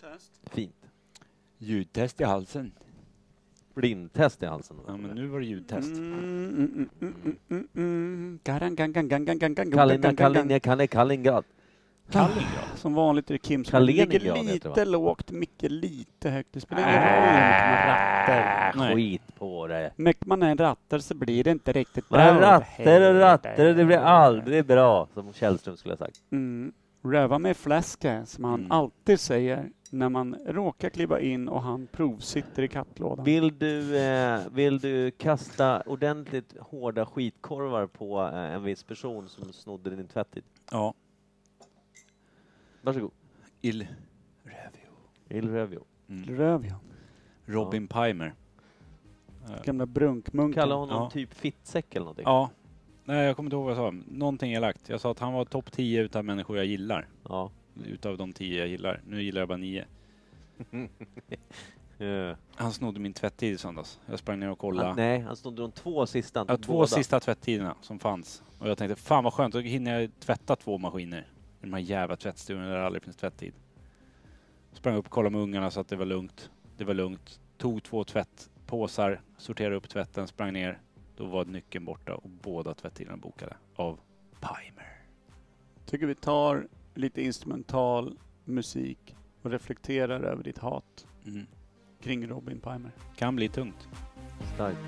Test. Fint. Ljudtest i halsen. Blindtest i halsen. Ja, men nu var det ljudtest. Mm, mm, mm, mm. Garang, gang, gang, gang, gang, gang, gang, Kallinja, gang, gang, gang. Kallinja, Kalle, Kallingrad. Kaliningrad. Som vanligt är det Kim som Kaliningrad ligger heter lite det, lågt, Micke lite högt. Det spelar ingen roll. Äh, Nej. skit på det. Mäcker man en ratter så blir det inte riktigt bra. Men ratter och ratter, det blir aldrig bra, som Källström skulle ha sagt. Mm. Röva med fläsket, som han Mm. alltid säger när man råkar kliva in och han provsitter i kattlådan. Vill du, eh, vill du kasta ordentligt hårda skitkorvar på eh, en viss person som snodde din tvättid? Ja. Varsågod. Il Revio. Il Revio. Röv, ja. Mm. Robin Pimer. Gamla brunkmunken. Kalla honom Ja. typ fittsäck eller någonting. Ja. Nej, jag kommer inte ihåg vad jag sa. Någonting elakt. Jag sa att han var topp 10 utav människor jag gillar. Ja. Utav de 10 jag gillar. Nu gillar jag bara 9. Eh, Han snodde min tvättid i söndags. Jag sprang ner och han, kollade. nej, han snodde de två sista, inte Ja, två båda. sista tvättiderna som fanns. Och jag tänkte, fan vad skönt, då hinner jag tvätta två maskiner. I de här jävla tvättstugorna där det aldrig finns tvättid. Sprang upp, kollade med ungarna så att det var lugnt. Det var lugnt. Tog två tvättpåsar, sorterade upp tvätten, sprang ner. Då var nyckeln borta och båda tvättiderna bokade av Pimer. Tycker vi tar lite instrumental musik och reflekterar över ditt hat Mm. kring Robin Pimer. Kan bli tungt. Starkt.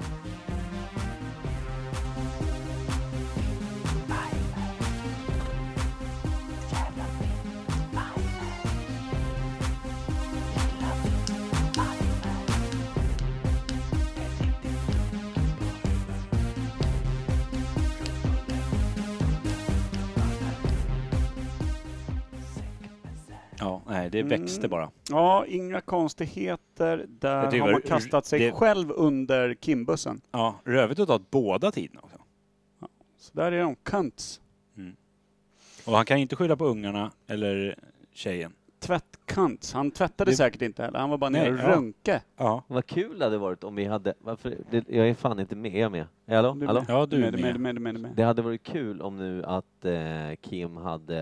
Ja, nej, det Mm. växte bara. Ja, inga konstigheter. Jag Där tycker har man det- kastat sig det- själv under Kimbussen. Ja, rövigt att ta båda tiderna också. Så där är de, cunts. Mm. Och han kan inte skylla på ungarna eller tjejen. Tvättcunts. Han tvättade Det- säkert inte heller. Han var bara nere och Nej, ja. röntgade. Ja, Vad kul det hade varit om vi hade... Varför, det, jag är fan inte med. Är jag med? Hallå? Du är Hallå? med. ja du med, med. med, med, med, med, med. Det hade varit kul om nu att eh, Kim hade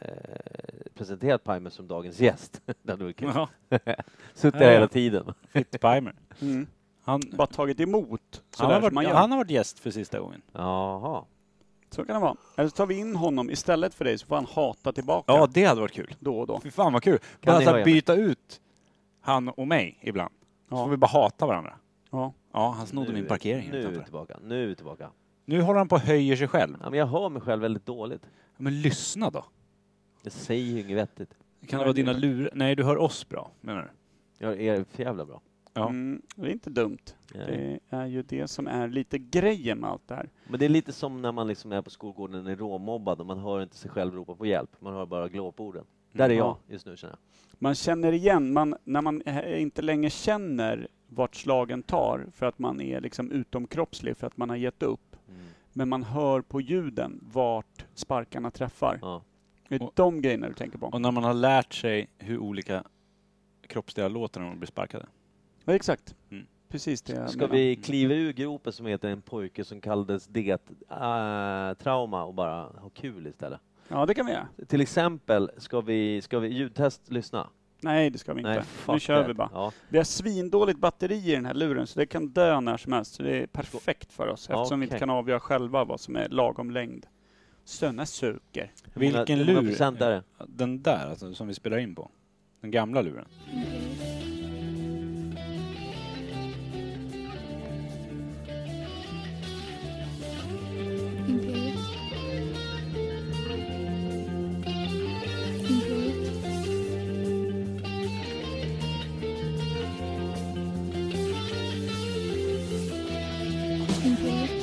eh, presenterat Pimer som dagens gäst. det hade varit kul. Ja, Suttit Ja, här ja. hela tiden. Pimer. Mm. Han, Bara tagit emot. Så, han, har där, som varit, man gör. han har varit gäst för sista gången. Jaha. så kan det vara. Eller så tar vi in honom istället för dig så får han hata tillbaka det hade varit kul. då och då. Fy fan vad kul. ni Bara så vara här byta ut han och mig ibland. Så Ja. får vi bara hata varandra. Ja. Ja, han snodde min parkering. Nu är vi utanför. tillbaka. Nu är vi tillbaka. nu håller han på och höjer sig själv. Ja, men jag hör mig själv väldigt dåligt. Men lyssna då. Jag säger ju inget vettigt. Kan det vara dina lurar? Nej, du hör oss bra, menar du? Jag hör er för jävla bra. Ja. Mm, det är inte dumt. Det är ju det som är lite grejen med allt det här. Men det är lite som när man liksom är på skolgården och är råmobbad och man hör inte sig själv ropa på hjälp. Man hör bara glåporden. Där är Mm. Ja. jag just nu känner jag. Man känner igen, man, när man eh, inte längre känner vart slagen tar för att man är liksom utomkroppslig, för att man har gett upp. Mm. Men man hör på ljuden vart sparkarna träffar. Ja. Det är Och- de grejerna du tänker på. Och när man har lärt sig hur olika kroppsdelar låter när de blir sparkade. Ja, exakt. Mm. Precis det jag Ska menar. vi kliva ur gropen som heter En pojke som kallades det äh, trauma och bara ha kul istället? Ja, det kan vi göra. Till exempel, ska vi, ska vi ljudtest lyssna? Nej, det ska vi inte. nu fuck kör that. vi bara. Ja. Vi har svindåligt batteri i den här luren, så det kan dö när som helst. Så det är perfekt för oss, eftersom vi inte Okej. kan avgöra själva vad som är lagom längd. Sönna söker. Hur många- Vilken hur många lur? procent Mm. är det? Den där, alltså, som vi spelar in på. Den gamla luren. Imperiet. Imperiet. Imperiet.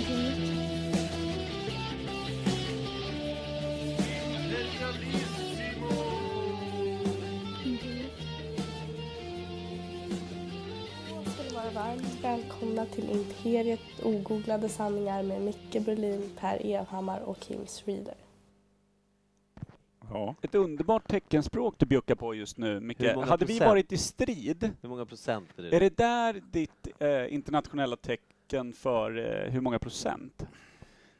Imperiet. Imperiet. ska ni vara varmt välkomna till Imperiet ogooglade sanningar med Micke Berlin, Per Evhammar och Kim Schreeder. Ja. Ett underbart teckenspråk du bjuckar på just nu, Micke. Hur många Hade vi procent? varit i strid, Hur många procent är det? är det där ditt eh, internationella tecken för eh, hur många procent?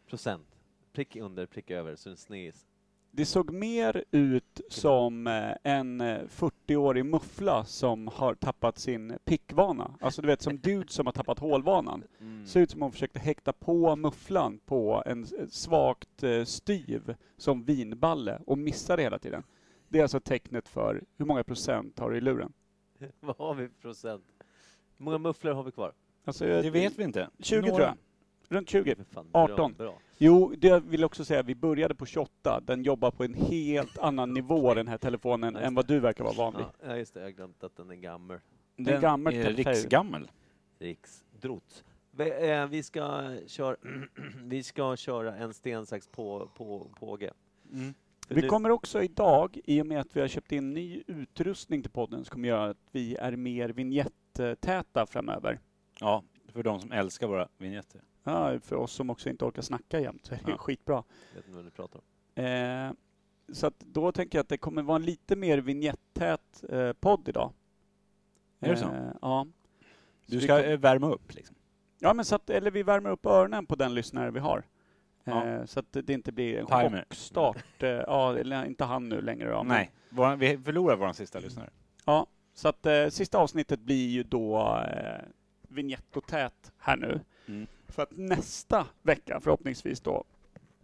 Procent? prick under, prick över, så en sneeze. Det såg mer ut som eh, en eh, 40-årig muffla som har tappat sin pickvana. Alltså du vet som dude som har tappat hålvanan. Mm. Såg ut som hon försökte häkta på mufflan på en s- svagt eh, styv som vinballe och missade hela tiden. Det är alltså tecknet för hur många procent har du i luren. Vad har vi för procent? Hur många mufflor har vi kvar? Alltså, Det eh, vet vi inte. 20 Några. tror jag. Runt 20. För fan, bra, 18. Bra. Jo, det jag vill också säga, vi började på 28. Den jobbar på en helt annan nivå den här telefonen Nice. än vad du verkar vara van vid. Ja, ja, just det. Jag har glömt att den är gammal. Den gammal är telefon. riksgammel. Riksdrott. Vi, eh, vi, ska köra, vi ska köra en sten, sax, på, på, påge. Mm. För Vi nu- kommer också idag, i och med att vi har köpt in ny utrustning till podden, som kommer göra att vi är mer vignettäta framöver. Ja, för de som älskar våra vignetter. Ja, för oss som också inte orkar snacka jämt, så är det ju Ja. skitbra. Jag vet inte vad du pratar om. Eh, så att då tänker jag att det kommer vara en lite mer vignettät eh, podd idag. Är det så? Eh, ja. Så Du vi ska kom- eh, värma upp liksom. Ja, men så att, eller vi värmer upp öronen på den lyssnare vi har. Ja. Eh, så att det det inte blir en Timer. chockstart. Eh, ja, eller inte han nu längre då. men- Nej, våran, vi förlorar vår sista lyssnare. Ja, så att eh, sista avsnittet blir ju då eh, vignett och tät här nu. Mm. För att nästa vecka förhoppningsvis då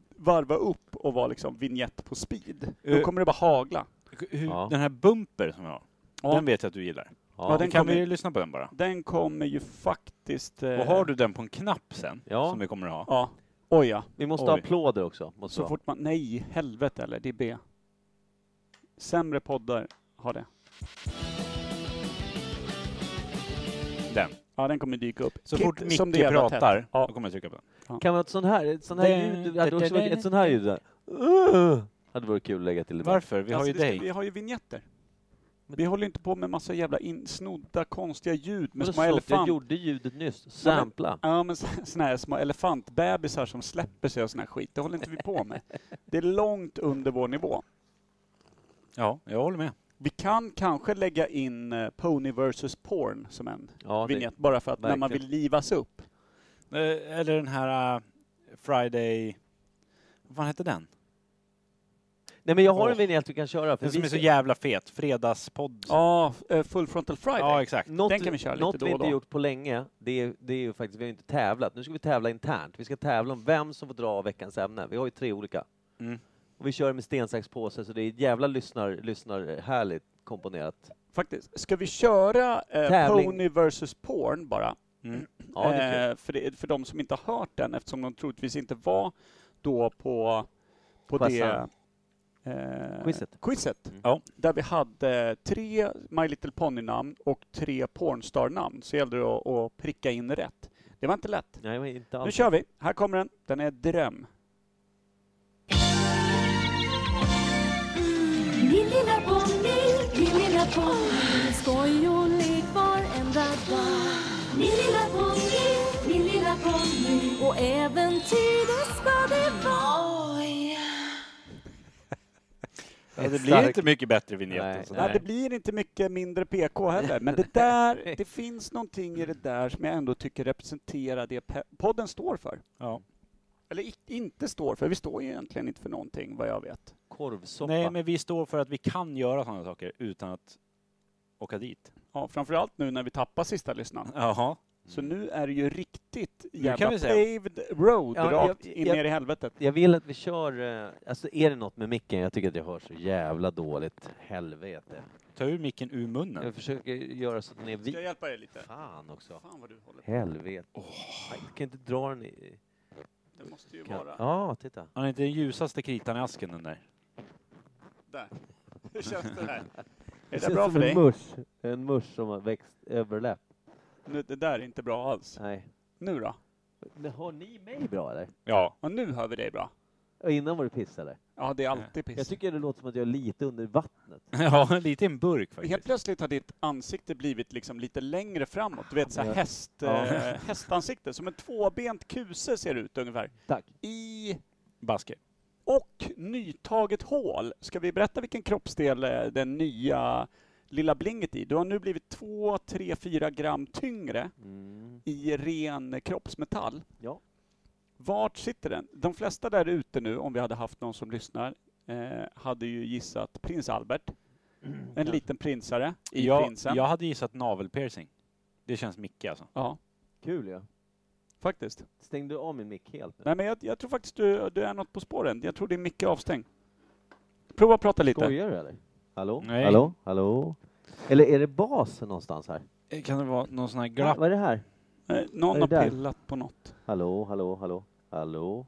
varva upp och vara liksom vignett på speed. Då Eh. kommer det bara hagla. Hur, Ja. Den här bumper som jag har, Ja. den vet jag att du gillar. Ja, Ja, Den den kan kommer- vi ju lyssna på den bara. Den kommer ju faktiskt... eh, Och har du den på en knapp sen, Ja. som vi kommer att ha. Ja. Oj ja. Vi måste Oj. ha applåder också. Måste Så vi ha. fort man... Nej, helvete eller det är B. Sämre poddar har det. Den. Ja, den kommer dyka upp. Så Kit- fort Micke som det jävla tätt. pratar, Ja. då kommer jag trycka på den. Kan vi ha ett sånt här, ett sånt här Det- ljud? Det hade också varit, ett sånt här ljud där. Uh, hade varit kul att lägga till. ibland. Varför? Vi har Alltså, ju det ska- Vi dig. har ju vignetter. Men- Vi håller inte på med massa jävla insnodda konstiga ljud med Vadå små snott? Jag elefant... gjorde ljudet nyss. Sampla. Ja men så- såna här små elefantbebisar som släpper sig och sån här skit, det håller inte vi på med. Det är långt under vår nivå. Ja, jag håller med. Vi kan kanske lägga in eh, Pony vs Porn som en Ja, det, vignett, bara för att när man vill verkligen. livas upp. Eh, Eller den här eh, Friday... Vad fan hette den? nej men jag har en Åh. vignett du kan köra. För Den som vi är så ska- jävla fet. Fredagspodd. Ja, eh, Full Frontal Friday. ja exakt. Mm. Något, Den kan vi köra lite något då vi och inte då. gjort på länge, det är, det är ju faktiskt, vi har ju inte tävlat. Nu ska vi tävla internt. Vi ska tävla om vem som får dra av veckans ämne. Vi har ju tre olika. Mm. Och vi kör med sten, sax, påse, så det är ett jävla lyssnar, lyssnar härligt komponerat. Faktiskt. Ska vi köra eh, Tävling. Pony vs Porn bara? Mm. Ja, det är kul. eh, för, det, för de som inte har hört den, eftersom de troligtvis inte var då på, på det Quizzen. eh, Quizet. quizet Mm. Ja. där vi hade tre My Little Pony-namn och tre Pornstar-namn, så gällde det att, att pricka in rätt. Det var inte lätt. Nej, men inte Nu alls. kör vi! Här kommer den. Den är dröm. Min lilla ponny, min lilla ponny Skoj och lek varenda dag Min lilla ponny, min lilla ponny Och äventyr det ska det vara Ja, det blir Stark. inte mycket bättre vignett Nej, än så nej. Nej. Det blir inte mycket mindre PK heller, men det där, det finns någonting i det där som jag ändå tycker representerar det pe- podden står för. Ja. Eller i- inte står för, vi står ju egentligen inte för någonting vad jag vet. Korvsoppa. Nej, men vi står för att vi kan göra sådana saker utan att åka dit. Ja, framförallt nu när vi tappar sista lyssnaren. Jaha. Så Mm. nu är det ju riktigt Nu kan vi jävla säga- paved road Ja, rakt jag- in jag- ner i helvetet. Jag vill att vi kör, eh, alltså är det något med micken? Jag tycker att jag hör så jävla dåligt. Helvete. Ta ur micken ur munnen. Jag försöker göra så att den är Ska jag vit. hjälpa dig lite? Fan också. Fan vad du håller på. Helvete. Nej, Jag kan inte dra den i... Det måste ju Kan... vara Ja, titta. Han är inte den ljusaste kritan i asken den där. där. Hur känns det där? Är Det det känns bra som för dig? en mörs. En mörs som har växt överläpp. Nu, det där är inte bra alls. Nej. Nu då? Men har ni mig bra eller? Ja. Ja, nu hör vi dig bra. Och innan var det piss eller? Ja, det är alltid piss. Jag tycker det låter som att jag är lite under vattnet. ja, lite i en burk Helt faktiskt. plötsligt har ditt ansikte blivit liksom lite längre framåt. Du vet så här Ja. häst, Ja. eh, hästansikte, som en tvåbent kuse ser det ut ungefär. Tack. I Baske. och nytaget hål. Ska vi berätta vilken kroppsdel eh, den nya lilla blinget i? Du har nu blivit 2, 3, 4 gram tyngre Mm. i ren kroppsmetall. Ja. Vart sitter den? De flesta där ute nu, om vi hade haft någon som lyssnar, eh, hade ju gissat prins Albert. En liten prinsare i jag, prinsen. jag hade gissat navelpiercing. Det känns Micke alltså. ja, Kul ja. faktiskt. Stängde du av min mick helt nu? Nej men jag, jag tror faktiskt du, du är något på spåren. Jag tror det är Micke avstängd. Prova att prata lite. Skojar du eller? Hallå? Nej. Hallå? Hallå? Eller är det bas någonstans här? Eh, Ah, Kan det vara någon sån här glapp? Vad är det här? Eh, Någon Är har det där? pillat på något. Hallå, hallå, hallå, hallå?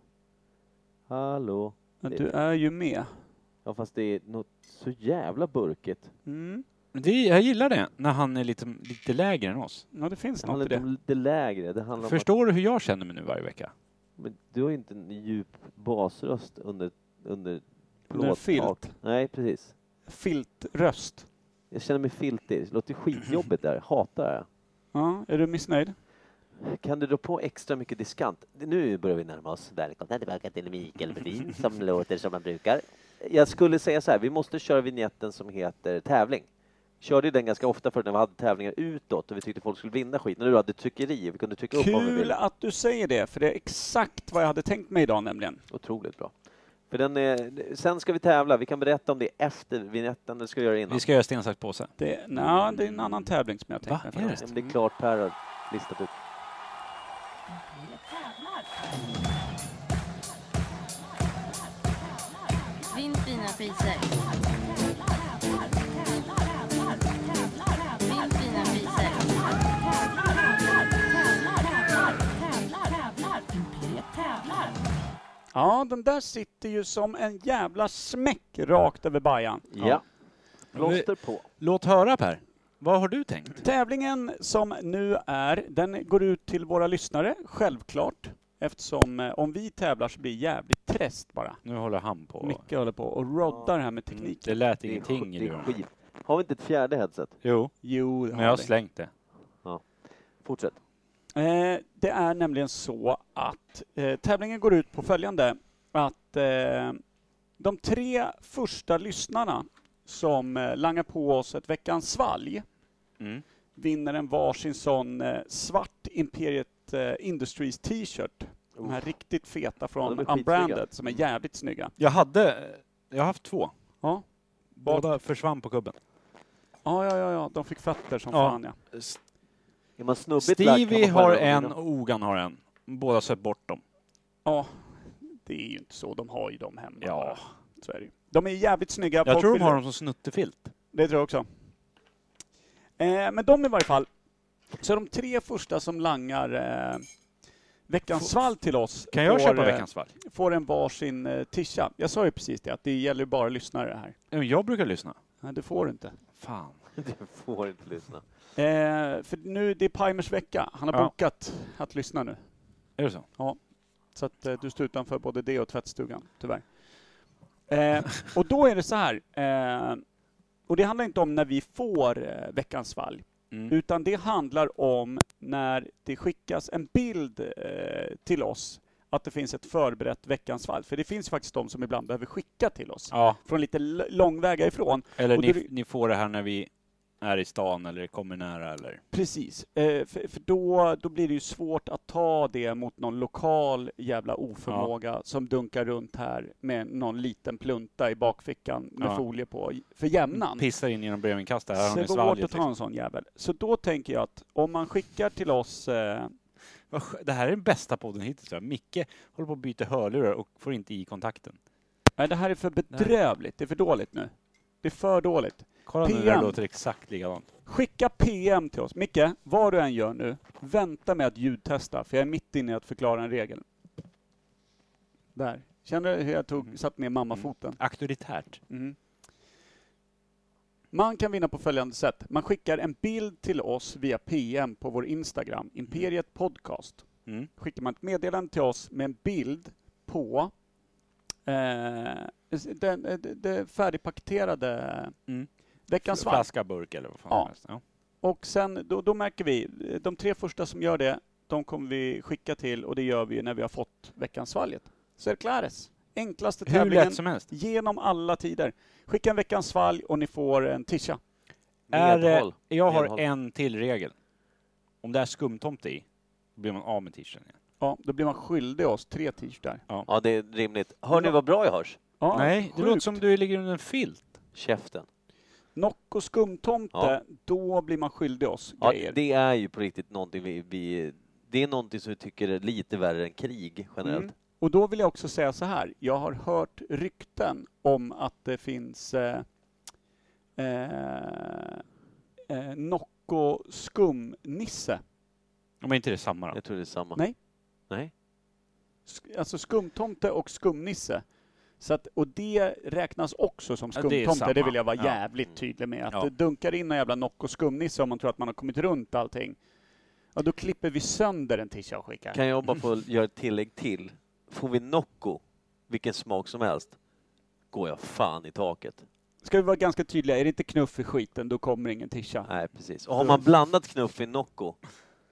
Hallå? Men Det- du är ju med. Ja fast det är något så jävla burkigt. Mm. Men Det, jag gillar det, när han är lite, lite lägre än oss. Ja, det finns Det något i handlar inte det. om det lägre, det handlar om att Förstår du hur jag känner mig nu varje vecka? Men du har ju inte en djup basröst under, under Under en plåttak. filt. Nej, precis. Filtröst. Jag känner mig filtig. Det låter skitjobbigt där. Hatar det. Ja, är du missnöjd? Kan du dra på extra mycket diskant? Nu börjar vi närma oss. Välkomna tillbaka till Mikael Berlin som låter som man brukar. Jag skulle säga så här, vi måste köra vignetten som heter tävling. Körde ju den ganska ofta förut när vi hade tävlingar utåt och vi tyckte folk skulle vinna skit. När du hade tryckeri och vi kunde trycka upp om vi Kul ville. att du säger det, för det är exakt vad jag hade tänkt mig idag nämligen. Otroligt bra. För den är, sen ska vi tävla. Vi kan berätta om det efter vignetten. eller ska vi göra det innan. Vi ska göra sten, sax, påse. Det, nej, det är en annan tävling som jag Va? tänkte Är mig. det? faktiskt. Ja, men det är klart Per har listat ut. Vinn fina priser. Vinn fina priser. Ja, den där sitter ju som en jävla smäck rakt över bajan. Ja. Plåster på. Låt höra Per. Vad har du tänkt? Tävlingen som nu är, den går ut till våra lyssnare, självklart. Eftersom eh, om vi tävlar så blir det jävligt träst bara. Nu håller han på. Micke håller på och roddar här Mm, med Det tekniken. lät Det är ingenting skit- i det är luren. skit. Har vi inte ett fjärde headset? Jo, Jo, det Mm. men har jag har vi. slängt det. Fortsätt. Eh, det är nämligen så att eh, tävlingen går ut på följande. Att eh, de tre första lyssnarna som eh, langar på oss ett veckans svalg Mm. vinner en varsin sån eh, svart Imperiet eh, Industries t-shirt. De här riktigt feta Ja, de från är skitsnygga. Unbranded som är jävligt snygga. Jag hade... Jag har haft två. Ja. Båda försvann på kubben. Ja, ja, ja, ja, de fick fötter som Ja. fan ja. Oh. Är man snubbigt lagd kan Stevie man bara har röra en dem. och Ogan har en. Båda söp bort dem. Ja, det är ju inte så. De har ju dem hemma. Ja. bara. Så är det ju. De är jävligt snygga. Jag Folk tror vill- de har dem som snuttefilt. Det tror jag också. Eh, men de i varje fall. Så de tre första som langar eh, veckans svalg till oss Kan jag får, köpa eh, veckans valg? får en varsin eh, tisha. Jag sa ju precis det, att det gäller ju bara lyssnare här. Ja, men Jag brukar lyssna. Nej, det får du inte. Fan. Du får inte lyssna. Eh, för nu, det är Palmers vecka. Han har Ja. bokat att lyssna nu. Är det så? Så att eh, du står utanför både det och tvättstugan, tyvärr. Eh, och då är det så här. Eh, och det handlar inte om när vi får eh, veckans valg. Mm. Utan det handlar om när det skickas en bild eh, till oss att det finns ett förberett veckans fall. För det finns faktiskt de som ibland behöver skicka till oss. Ja, Från lite l- långväga ifrån. eller Och ni, det- ni får det här när vi är i stan eller kommer nära eller... Precis. Eh, för för då, då blir det ju svårt att ta det mot någon lokal jävla oförmåga som dunkar runt här med någon liten plunta i bakfickan med Ja. folie på i- för jämnan. Pissar in genom brevinkastet. Här har ni Svårt att svalget. ta Liksom. en sån jävel. Så då tänker jag att om man skickar till oss eh, Vad skö- Det här är den bästa podden hittills. tror jag. Micke håller på att byta hörlurar och får inte i kontakten. Nej, det här är för bedrövligt. Det är för dåligt nu. Det är för dåligt. Kolla nu, det PM. här låter exakt likadant. Skicka PM till oss. Micke, vad du än gör nu, vänta med att ljudtesta, för jag är mitt inne i att förklara en regel. Där. Känner du hur jag Mm. tog, satt ner mammafoten? Auktoritärt. Mm. Man kan vinna på följande sätt. Man skickar en bild till oss via PM på vår Instagram, Imperiet Podcast. Mm. Skickar man ett meddelande till oss med en bild på eh, den, eh, det, det färdigpaketerade Mm. veckans valp. Flaska, burk eller vad fan Ja. som helst. Ja. Och sen, då, då märker vi, eh, de tre första som gör det, de kommer vi skicka till och det gör vi när vi har fått veckans svalget. Så är det klares. Enklaste Hur tävlingen lätt som helst. genom alla tider. Skicka en veckans svalg och ni får en tisha. Är, eh, Medhåll. jag har Medhåll. en till regel. Om det är skumtomte i, då blir man av med t-shirten igen. Ja, då blir man skyldig oss tre t-shirtar. Ja, det är rimligt. Hör ni vad bra jag hörs? Ja, Nej, det sjukt. låter som du ligger under en filt. Käften. Nocco skumtomte, Ja. då blir man skyldig oss Ja, grejer. det är ju på riktigt någonting vi, vi... Det är någonting som vi tycker är lite värre än krig, generellt. Mm. Och då vill jag också säga så här, jag har hört rykten om att det finns eh, eh, eh, Nocco skumnisse. Om inte det är samma då. Jag tror det är samma. Nej. Nej? Sk- alltså skumtomte och skumnisse. Så att, och det räknas också som Ja, det är skumtomte, det, samma. vill jag vara Ja. jävligt tydlig med. Att Ja. det dunkar in en jävla Nocco skumnisse om man tror att man har kommit runt allting. Ja, då klipper vi sönder en t-shirt jag skickar. Kan jag bara få göra ett tillägg till? Får vi Nocco, vilken smak som helst, går jag fan i taket. Ska vi vara ganska tydliga, är det inte knuff i skiten, då kommer ingen tisha. Nej, precis. Och har man blandat knuff i Nocco,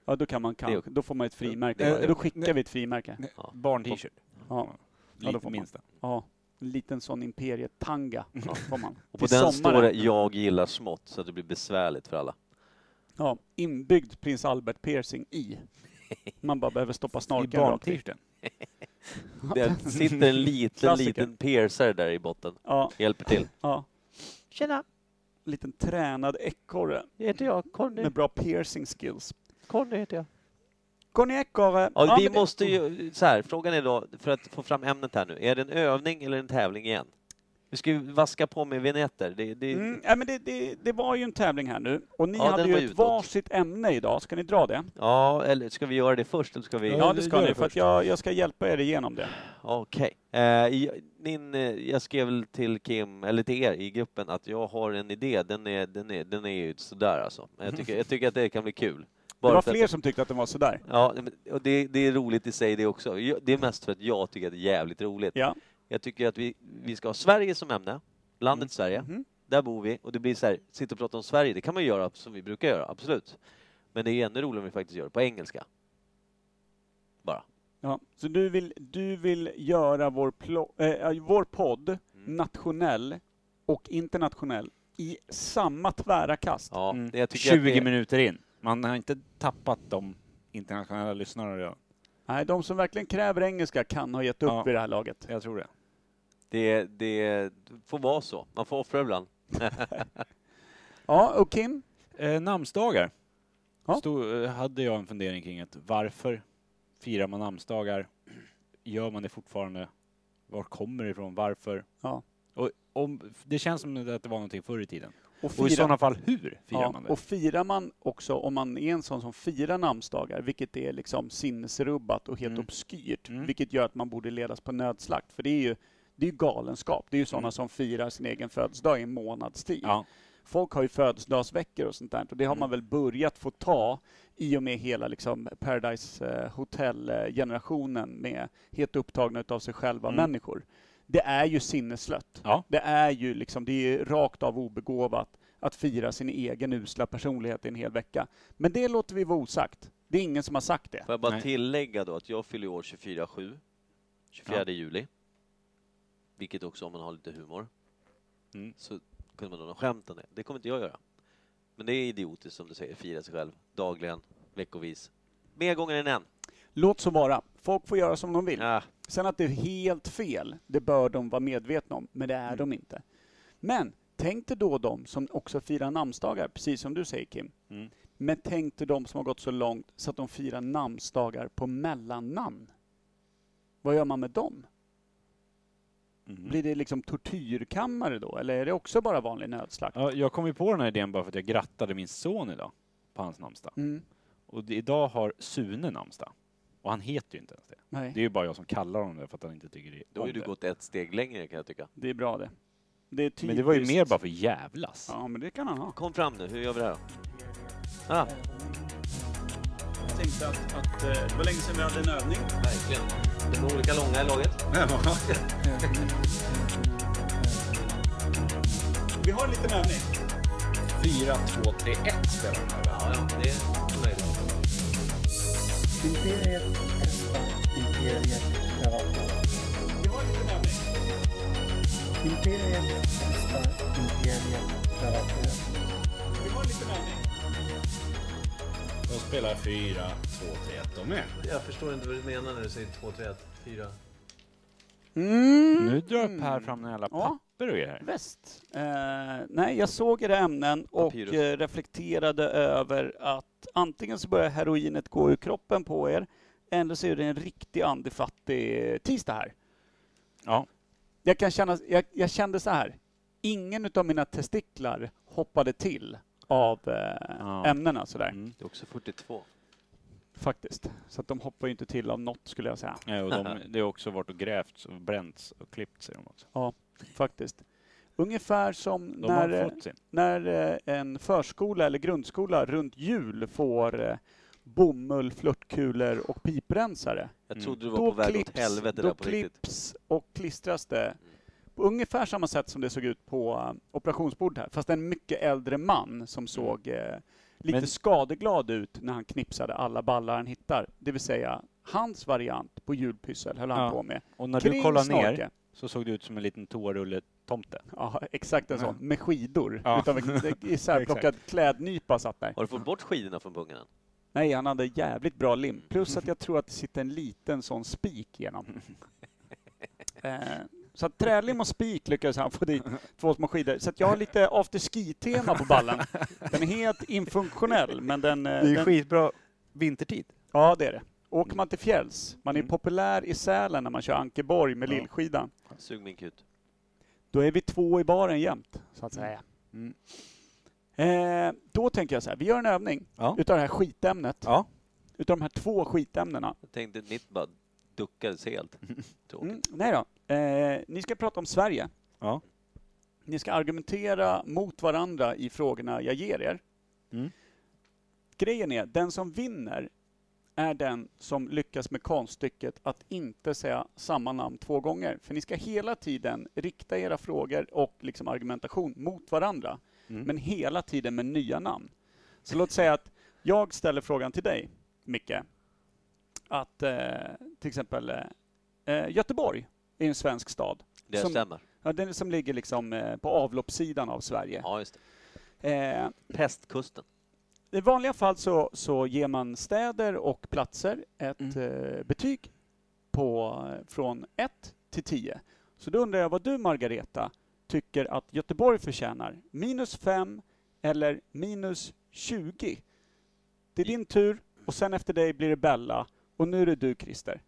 Ja, då kan man kanske, då får man ett frimärke. det- då skickar vi ett frimärke. Barn-t-shirt. Ja, Ja, då Lite får man. minst. det. ja. En liten sån imperietanga får man. och på Till den sommaren. står det ”Jag gillar smått” så att det blir besvärligt för alla. Ja, inbyggd prins Albert piercing i. Man bara behöver stoppa I snorken rakt i. barn-t-shirten. Det sitter en liten, Klassiker. liten piercer där i botten. Ja, Hjälper till. ja. Tjena, Liten tränad ekorre heter jag. Conny. med bra piercing skills. Conny heter jag. Conny Ekorre! Ja, vi men det- måste ju, så här, frågan är då, för att få fram ämnet här nu, är det en övning eller en tävling igen? Vi ska ju vaska på med vignetter. Det, det, Mm, ja, men det, det, det var ju en tävling här nu och ni Ja, hade den ju var ett utåt. varsitt ämne idag, ska ni dra det? Ja, eller ska vi göra det först eller ska vi... Ja, det ska gör ni, det för att jag, jag ska hjälpa er igenom det. Okej. Eh, jag- min, eh, jag skrev väl till Kim, eller till er i gruppen, att jag har en idé. Den är, den är, den är ju sådär alltså. Men jag tycker, jag tycker att det kan bli kul. Det var för att- fler som tyckte att den var sådär. Ja, men- och det, det är roligt i sig det också. Jag- Det är mest för att jag tycker att det är jävligt roligt. Ja. Jag tycker att vi, vi ska ha Sverige som ämne, landet Sverige. Mhm. Där bor vi och det blir så här, sitta och prata om Sverige, det kan man göra som vi brukar göra, absolut. Men det är ännu roligare om vi faktiskt gör det på engelska. Bara. Ja, så du vill, du vill göra vår, plo- eh, vår podd Mm. nationell och internationell i samma tvära kast? Ja, Mm. det, jag tycker 20 att det, minuter in. Man har inte tappat de internationella lyssnarna redan. Nej, de som verkligen kräver engelska kan ha gett upp Ja. vid det här laget. Jag tror det. det, det får vara så. Man får offra ibland. Ja, och Kim? Eh, namnsdagar. Ja. Stod, eh, hade jag en fundering kring att varför firar man namnsdagar? Gör man det fortfarande? Var kommer det ifrån? Varför? Ja. Och om, det känns som att det var någonting förr i tiden. Och Och i firar, sådana fall, hur firar ja, man det? och firar man också, om man är en sån som firar namnsdagar, vilket är liksom sinnesrubbat och helt Mm. obskyrt, Mm. vilket gör att man borde ledas på nödslakt, för det är ju det är ju galenskap. Det är ju sådana som firar sin egen födelsedag i en månads tid. Mm. Ja. Mm. folk har ju födelsedagsveckor och sånt där och det har man väl börjat få ta i och med hela liksom Paradise eh, Hotel-generationen med helt upptagna av sig själva Mm. människor. Det är ju sinneslött. Ja. Det är ju liksom, det är ju rakt av obegåvat att fira sin egen usla personlighet i en hel vecka. Men det låter vi vara osagt. Det är ingen som har sagt det. Får jag bara Nej. tillägga då att jag fyller år 24-7, 24 Ja. juli. Vilket också om man har lite humor. Mm. Så kunde man nog ha skämt om det. Det kommer inte jag göra. Men det är idiotiskt som du säger, fira sig själv dagligen, veckovis. Mer gånger än en. Låt så vara. Folk får göra som de vill. Ah, Sen att det är helt fel, det bör de vara medvetna om, men det är Mm. de inte. Men tänk dig då de som också firar namnsdagar, precis som du säger Kim. Mm. Men tänk dig de som har gått så långt så att de firar namnsdagar på mellannamn. Vad gör man med dem? Mm. Mhm. Blir det liksom tortyrkammare då, eller är det också bara vanlig nödslakt? Ja, jag kom ju på den här idén bara för att jag grattade min son idag på hans namnsdag. Mm. Och det, idag har Sune namnsdag. Och han heter ju inte ens det. Det Nej, är ju bara jag som kallar honom det för att han inte tycker det då har om ju du det. gått ett steg längre kan jag tycka. det är bra det. det är Men det var ju typiskt. mer bara för jävlas. Ja, men det kan han ha. Kom fram nu, hur gör vi det här då? Ah, Jag tänkte att, eh, det var länge sedan vi hade en övning. verkligen. De är olika långa i laget. Vi har en liten övning. Ja, ja, det är så nöjd. Vi har en liten övning. Vi har en liten övning. De spelar 4, 2, 3, 1 de med. Jag förstår inte vad du menar när du säger 2, 3, 1, 4. Mm. Nu drar Per fram en jävla Ja. papper och er här. Väst. Eh, nej, jag såg era ämnen och Papyrus. eh, reflekterade över att antingen så börjar heroinet gå ur kroppen på er eller så är det en riktig andefattig tisdag här. Ja. Jag, kan känna, jag, jag kände så här, ingen av mina testiklar hoppade till av eh, Ja. ämnena sådär, Mm. Det är också 42. faktiskt. Så att de hoppar ju inte till av något skulle jag säga, Ja, Eh, och de, det har också varit och grävts och bränts och klippt sig. De, också. faktiskt. Ungefär som de när... eh, har fått sin. När eh, en förskola eller grundskola runt jul får eh, bomull, flörtkulor och piprensare. Jag Mm. trodde du var på väg åt helvete då där på riktigt. Mm. klipps och klistras det på ungefär samma sätt som det såg ut på eh, operationsbordet här. Fast en mycket äldre man Mm. som såg eh, lite Men- skadeglad ut när han knipsade alla ballar han hittar. Det vill säga, hans variant på julpyssel höll han Ja. på med. Och när Kring du kollar ner snake. så såg det ut som en liten toarulle-tomte. Ja, exakt en sån. Med skidor. Ja. Utav en isärplockad klädnypa satt där. Har du fått bort skidorna från bungarna? Nej, han hade jävligt bra lim. Plus att jag tror att det sitter en liten sån spik genom. eh, så att trälim och spik lyckades han få dit två små skidor. Så att jag har lite afterski-tema på ballen. Den är helt infunktionell, men den... eh, den skitbra vintertid. ja, det är det. Åker man till fjälls, man är Mm. populär i Sälen när man kör Ankeborg med Ja. lillskidan. Sug min kut. Då är vi två i baren jämt, så att säga. Mm. Eh, då tänker jag så här, vi gör en övning Ja. utav det här skitämnet. Ja. Utav de här två skitämnena. Jag tänkte mitt bara duckades helt. Tråkigt. Mm, nej då. Eh, ni ska prata om Sverige. Ja. Ni ska argumentera mot varandra i frågorna jag ger er. Mm. Grejen är, den som vinner är den som lyckas med konststycket att inte säga samma namn två gånger. För ni ska hela tiden rikta era frågor och liksom argumentation mot varandra, Mm. men hela tiden med nya namn. Så låt säga att jag ställer frågan till dig, Micke, att eh, till exempel eh, eh, Göteborg är en svensk stad. Det Som- stämmer. Ja, den som ligger liksom eh, på avloppssidan av Sverige. Ja, just Eh, det. Pestkusten. I vanliga fall så, så ger man städer och platser ett Mm. eh, betyg på, eh, från 1 till 10. Så då undrar jag vad du, Margareta, tycker att Göteborg förtjänar? Minus 5 eller minus 20? Det är din tur och sen efter dig blir det Bella och nu är det du, Christer.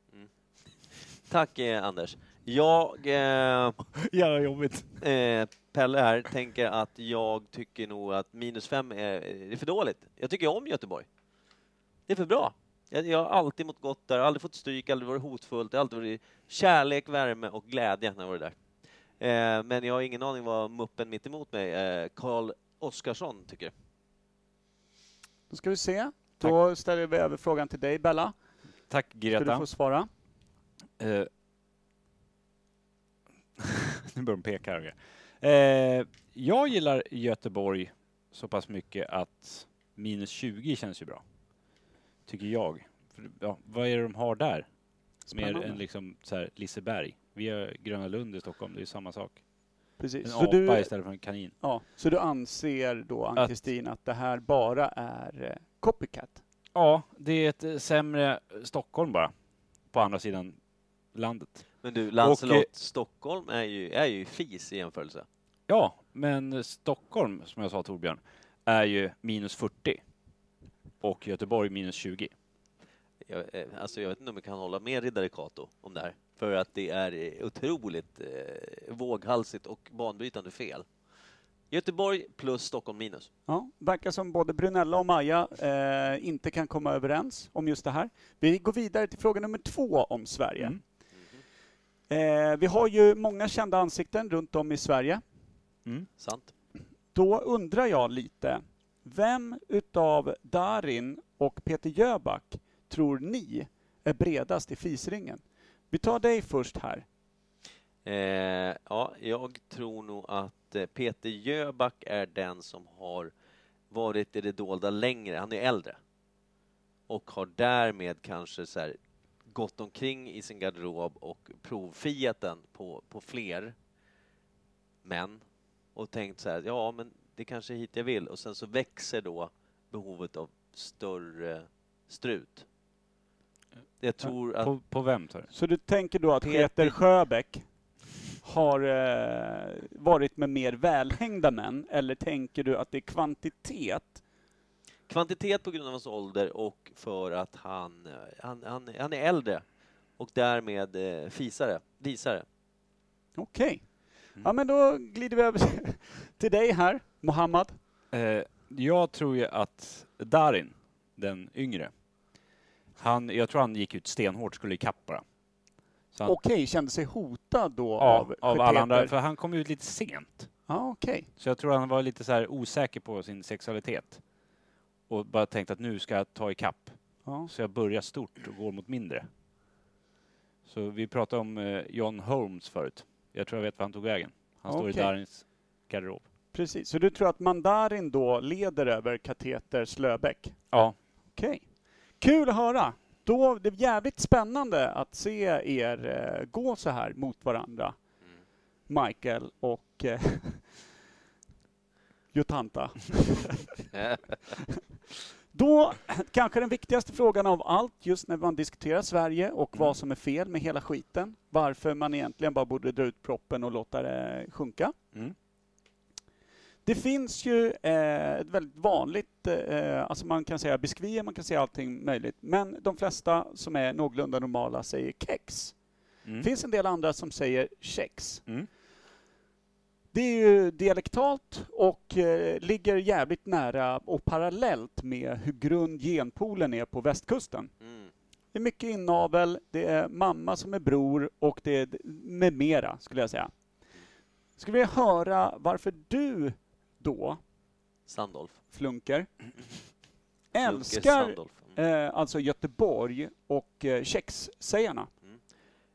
Tack eh, Anders. Jag, eh, Jävla jobbigt. eh, Pelle här, tänker att jag tycker nog att minus fem är, är för dåligt. Jag tycker om Göteborg. Det är för bra. Jag, jag har alltid mått gott där, aldrig fått stryk, aldrig varit hotfullt, det har alltid varit kärlek, värme och glädje när jag var där. Eh, men jag har ingen aning vad muppen mitt emot mig, eh, Karl Oskarsson, tycker. Då ska vi se. Då ställer vi över frågan till dig, Bella. Tack Ska du Greta. få svara? Eh. nu börjar de peka här. och grejer. Eh, jag gillar Göteborg så pass mycket att minus 20 känns ju bra. Tycker jag. För, ja, vad är det de har där? Mer Spännande. än liksom så här Liseberg. Vi har Gröna Lund i Stockholm, det är ju samma sak. En Precis. apa Så du, istället för en kanin. ja, så du anser då, Att- Ann-Kristin, att... det här bara är eh, copycat? Ja, det är ett eh, sämre Stockholm bara. På andra sidan landet. Men du, Lancelot, Och, eh, Stockholm är ju, är ju fis i jämförelse. Ja, men Stockholm, som jag sa Torbjörn, är ju minus 40. Och Göteborg minus 20. Jag, eh, alltså jag vet inte om jag kan hålla med riddare Kato om det här. För att det är eh, otroligt eh, våghalsigt och banbrytande fel. Göteborg plus Stockholm minus. Ja, verkar som både Brunella och Maja eh, inte kan komma överens om just det här. Vi går vidare till fråga nummer två om Sverige. Mm. Eh, vi har ju många kända ansikten runt om i Sverige. Sant? Då undrar jag lite, vem utav Darin och Peter Jöback tror ni är bredast i fisringen? Vi tar dig först här. Eh, ja, jag tror nog att eh, Peter Jöback är den som har varit i det dolda längre. Han är äldre. Och har därmed kanske så här gått omkring i sin garderob och provfiat den på, på fler män och tänkt så här, ja men det kanske är hit jag vill. Och sen så växer då behovet av större strut. Jag tror att... På, på vem tar du? Så du tänker då att Peter- Peter Sjöbeck har eh, varit med mer välhängda män, eller tänker du att det är kvantitet? Kvantitet på grund av hans ålder och för att han, eh, han, han, han är äldre och därmed eh, fisare, visare. Okej. Ja, men då glider vi över till dig här, Mohammad. Eh, jag tror ju att Darin, den yngre, han, jag tror han gick ut stenhårt, skulle ikapp bara. Så han, Okej, kände sig hotad då av, av av alla andra, Peter? för han kom ut lite sent. Ja, okej. Så jag tror han var lite så här osäker på sin sexualitet. Och bara tänkte att nu ska jag ta ikapp. Ja. Så jag börjar stort och går mot mindre. Så vi pratade om eh, John Holmes förut. Jag tror jag vet var han tog vägen. Han står i Okej. Darins garderob. Precis, så du tror att Mandarin då leder över Kateter Slöbeck? Ja. Okej. Kul att höra! Då, det är jävligt spännande att se er eh, gå så här mot varandra. Michael och eh, Jotanta. Då, kanske den viktigaste frågan av allt just när man diskuterar Sverige och vad som är fel med hela skiten. Varför man egentligen bara borde dra ut proppen och låta det sjunka. Mm. Det finns ju eh, ett väldigt vanligt, eh, alltså man kan säga biskvier, man kan säga allting möjligt, men de flesta som är någorlunda normala säger kex. Mm. Det finns en del andra som säger kex. Mm. Det är ju dialektalt och eh, ligger jävligt nära och parallellt med hur grund genpoolen är på västkusten. Mm. Det är mycket inavel, det är mamma som är bror och det är d- med mera, skulle jag säga. Skulle vilja höra varför du då, Sandolf. Flunker, Lucas älskar Sandolf. Mm. eh, alltså Göteborg och eh, kexsägarna.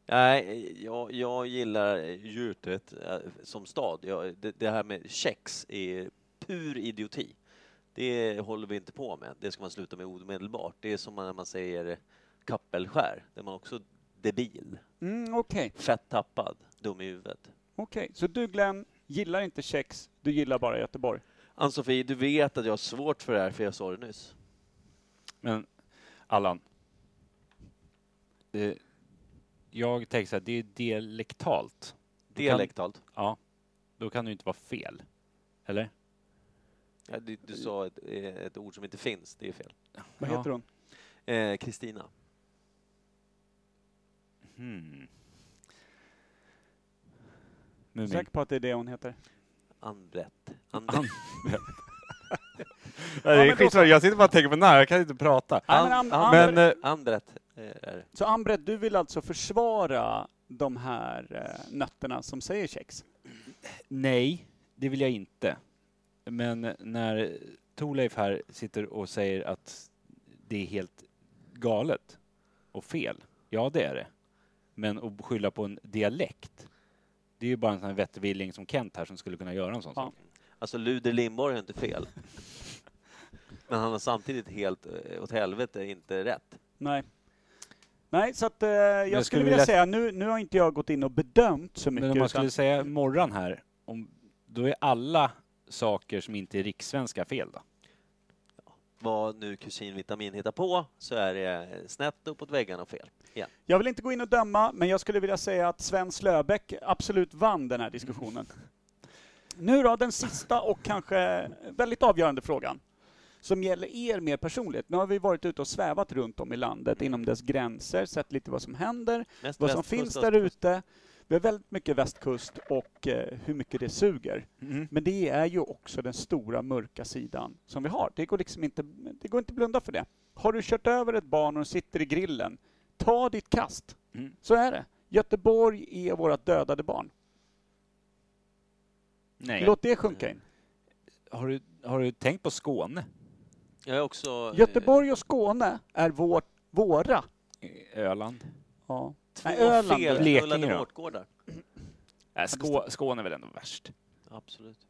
Nej, jag, jag gillar Jutet eh, som stad. Jag, det, det här med kex är pur idioti. Det håller vi inte på med. Det ska man sluta med omedelbart. Det är som när man säger kappelskär. Där man också debil, Mm, Okej, fett tappad, dum i huvudet. okej. så du Glenn gillar inte kex, du gillar bara Göteborg. Ann-Sofie, du vet att jag har svårt för det här för jag sa det nyss. Men Allan. Det, jag tänker så här, det är dialektalt. kan- Dialektalt. Ja. Då kan det ju inte vara fel. Eller? Ja, du, du sa ett, eh, ett ord som inte finns, det är fel. Vad Ja. heter hon? Eh, Kristina. Hmm. Säker på att det är det hon heter? Anbrett. Anbrett. det är men då skitsamma. så. jag sitter bara och tänker på när, jag kan inte prata. Nej, men Am- Am- Amber- Men, eh, Anbrett eh, är det. Så Ambred, du vill alltså försvara de här eh, nötterna som säger kex? Nej, det vill jag inte. Men när Torleif här sitter och säger att det är helt galet och fel. Ja, det är det. Men att skylla på en dialekt, det är ju bara en sån här vettvilling som Kent här som skulle kunna göra en sån Ja. sak. Alltså Luder Lindborg har inte fel. Men han har samtidigt helt eh, åt helvete inte rätt. Nej. Nej, så att eh, jag, skulle, jag skulle vilja vilja- säga, nu, nu har inte jag gått in och bedömt så mycket. Men om man skulle utan, säga morgon här, om, då är alla saker som inte är rikssvenska fel då? Vad nu kusinvitamin hittar på så är det snett uppåt väggarna och fel. Igen. jag vill inte gå in och döma, men jag skulle vilja säga att Sven Slöbeck absolut vann den här diskussionen. nu då, den sista och kanske väldigt avgörande frågan som gäller er mer personligt. Nu har vi varit ute och svävat runt om i landet inom dess gränser, sett lite vad som händer. Mest vad som västkust, finns där östkust. ute. Vi har väldigt mycket västkust och eh, hur mycket det suger. Mm-hmm. Men det är ju också den stora mörka sidan som vi har. Det går liksom inte, det går inte att blunda för det. Har du kört över ett barn och sitter i grillen, ta ditt kast. Mm. Så är det. Göteborg är våra dödade barn. Nej. Låt det sjunka in. Har, du, har du tänkt på Skåne? Jag är också... eh, Göteborg och Skåne är vår, våra. Öland? Ja. Två Nej, Öland. Blekinge felknullade då? vårtgårdar. Nej, Äh, Skå, Skåne är väl ändå värst? Absolut.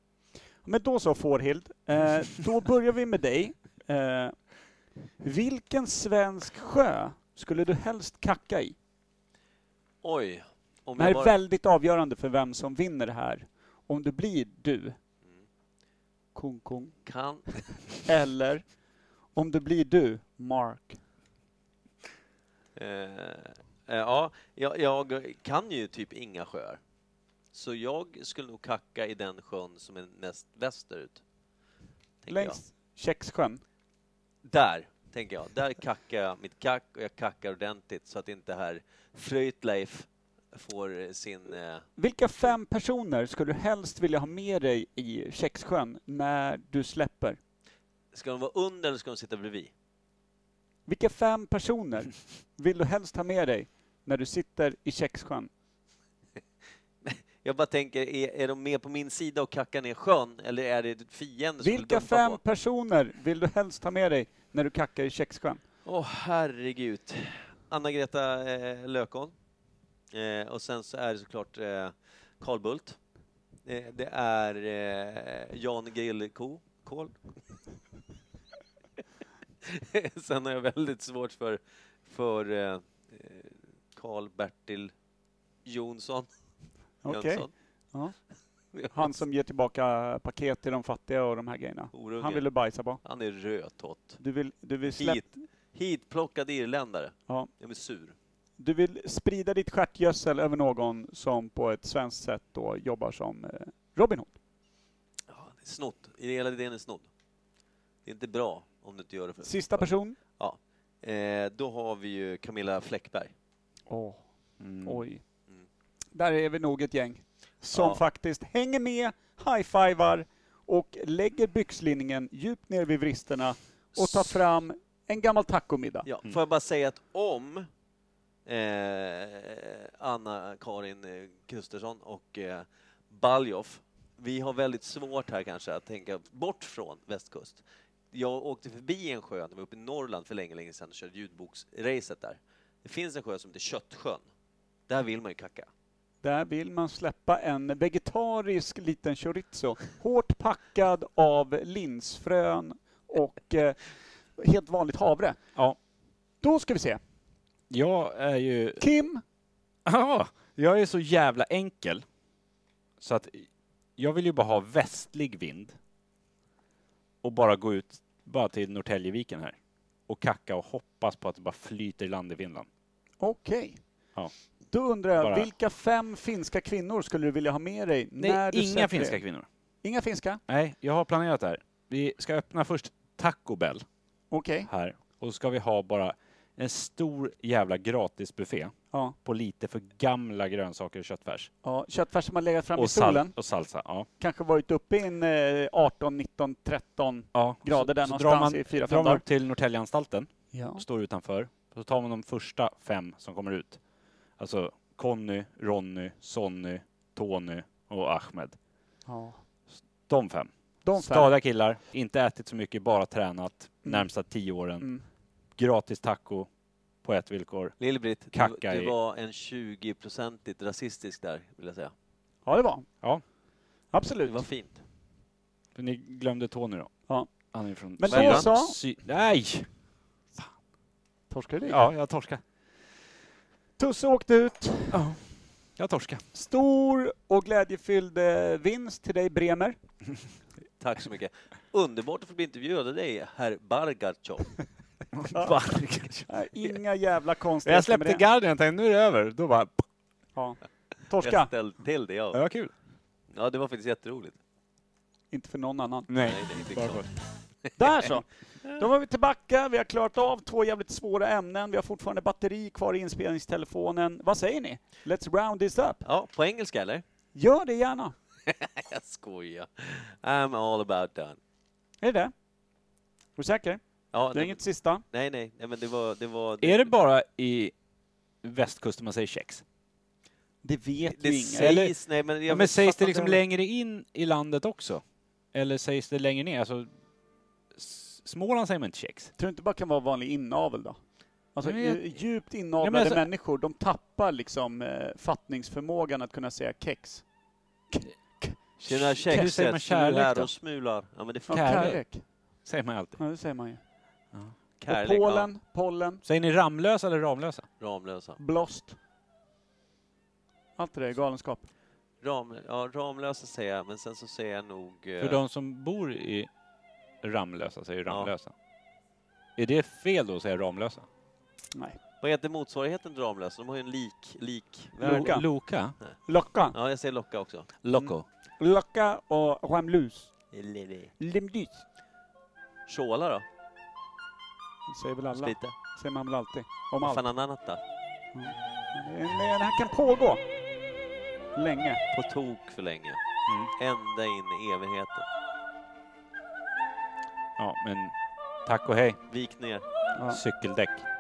Men då så Fårhild, eh, då börjar vi med dig. Eh, vilken svensk sjö skulle du helst kacka i? Oj. Om Det här jag är väldigt avgörande för vem som vinner det här. Om det blir du, Mm. Kung Kung, kan... eller Om det blir du, Mark. Eh, eh, ja, jag, jag kan ju typ inga sjöar. Så jag skulle nog kacka i den sjön som är näst västerut. tänker jag. Längs Käcksjön. Där, tänker jag. Där kackar jag mitt kack och jag kackar ordentligt så att inte herr Fröjtleif får eh, sin... Eh, Vilka fem personer skulle du helst vilja ha med dig i Käcksjön när du släpper? ska de vara under eller ska de sitta bredvid? Vilka fem personer vill du helst ha med dig när du sitter i Käcksjön? Jag bara tänker, är, är de med på min sida och kackar ner sjön eller är det fienden som vill Vilka dumpa fem på? personer vill du helst ha med dig när du kackar i Käcksjön? Åh herregud. Anna-Greta eh, Lökholm. Eh, och sen så är det såklart eh, Carl Bult. Eh, det är eh, Jan Grillko. Kål. sen har jag väldigt svårt för, för eh, eh, Carl Bertil Jonsson. Okej. Jönsson. Ja. Han som ger tillbaka paket till de fattiga och de här grejerna. Orungen. Han ville bajsa på. Han är rödtott. Du vill, du vill, släpp, Hit, hitplockad irländare. Ja. Jag är sur. du vill sprida ditt stjärtgödsel över någon som på ett svenskt sätt då jobbar som eh, Robin Hood. Ja, det är snott. Hela idén är snodd. Det är inte bra om du inte gör det för Sista person. Ja. Eh, då har vi ju Camilla Fläckberg. Åh, Mm. Oj. Mm. Där är vi nog ett gäng som Ja. faktiskt hänger med, high-fivar och lägger byxlinningen djupt ner vid vristerna och tar fram en gammal tacomiddag. Ja, Får jag bara säga att om eh, Anna-Karin eh, Kustersson och eh, Baljoff, vi har väldigt svårt här kanske att tänka bort från västkust. Jag åkte förbi en sjö när vi var uppe i Norrland för länge, länge sedan och körde ljudboksracet där. Det finns en sjö som heter Köttsjön. Där vill man ju kacka. Där vill man släppa en vegetarisk liten chorizo, hårt packad av linsfrön och eh, helt vanligt havre. Ja. Då ska vi se. Jag är ju Kim, Ja, jag är så jävla enkel. Så att jag vill ju bara ha västlig vind. Och bara gå ut bara till Norrtäljeviken här. Och kacka och hoppas på att det bara flyter i land i Finland. okej. Ja. Då undrar jag, Bara- vilka fem finska kvinnor skulle du vilja ha med dig? Nej, när du inga sätter finska dig? kvinnor. Inga finska? Nej, jag har planerat det här. Vi ska öppna först Taco Bell Okej. här. Och så ska vi ha bara en stor jävla gratisbuffé Ja. på lite för gamla grönsaker och köttfärs. Ja, köttfärs som har legat fram i Och, solen, sal- och salsa. Ja. kanske varit uppe i en eh, 18, 19, 13. Ja. Grader där så, så drar någonstans man, i fyra, fem drar man dagar. upp till Norrtäljeanstalten. Ja. och står utanför. Så tar man de första fem som kommer ut. Alltså Conny, Ronny, Sonny, Tony och Ahmed. De fem. De fem. Stadiga killar, inte ätit så mycket, bara tränat Mm. närmsta tio åren. Mm. Gratis taco på ett villkor. Lill-Britt, du, Kacka du i- var en 20-procentigt rasistisk där, vill jag säga. Ja, det var Ja. Det Absolut. var fint. Ni glömde Tony då? Ja. Han är från Men då Syrien. sa- Sy- Nej! Torskade du? Ja, jag torska. Tusse åkte ut. Jag torska. Stor och glädjefylld eh, vinst till dig Bremer. Tack så mycket. Underbart att få bli intervjuad av dig, herr Bargatjov. Nej, Äh, Inga jävla konstigheter jag släppte med det. garden, jag tänkte nu är det över. Då bara... Ja. Jag Torska. ställde till det, Det ja. var kul. ja. Det var faktiskt jätteroligt. Inte för någon annan. Nej, det är inte Bara klart. Där så! Då var vi tillbaka, vi har klarat av två jävligt svåra ämnen, vi har fortfarande batteri kvar i inspelningstelefonen. Vad säger ni? Let's round this up! Ja, på engelska eller? Gör det gärna! Jag skojar. I'm all about done. Är det det? Är du säker? Ja, Det är nej, inget sista? nej, nej, nej, men det var... Det var Är det bara i västkusten man säger kex? Det vet Det vi sägs, inget. nej men... Jag Ja, men sägs fattar det inte liksom heller. längre in i landet också? Eller sägs det längre ner? Alltså, S- Småland säger man inte kex. Tror du inte bara kan vara vanlig inavel då? Alltså Nej, men jag- i- djupt Ja, inavlade men alltså- människor, de tappar liksom eh, fattningsförmågan att kunna säga kex. Tjena Hur säger man kexet, kärlek smular då? och smular. Ja, men det är Ja, fan Kärlek. kärlek. Säger man alltid. Ja, det säger man ju. kärlek. och Ja, Polen, pollen, Säger ni Ramlösa eller Ramlösa? Ramlösa. blåst. Allt det där är galenskap. Ram, ja, Ramlösa säger jag, men sen så säger jag nog... eh, För de som bor i Ramlösa säger Ja. Ramlösa. Är det fel då att säga Ramlösa? Nej. Vad heter motsvarigheten till Ramlösa? De har ju en lik, lik... Loka. Loka? Mm. Locka. Ja, jag säger Locka också. Loco? Locka och Ramlus. Lili. Limdys. Shola då? Säger väl alla. Slite? Säger man väl alltid. Om Vad allt. fan annat då? Men det här kan pågå. Länge. På tok för länge. Mm. Ända in i evigheten. Ja, men tack och hej. Vik ner. Ja. Cykeldäck.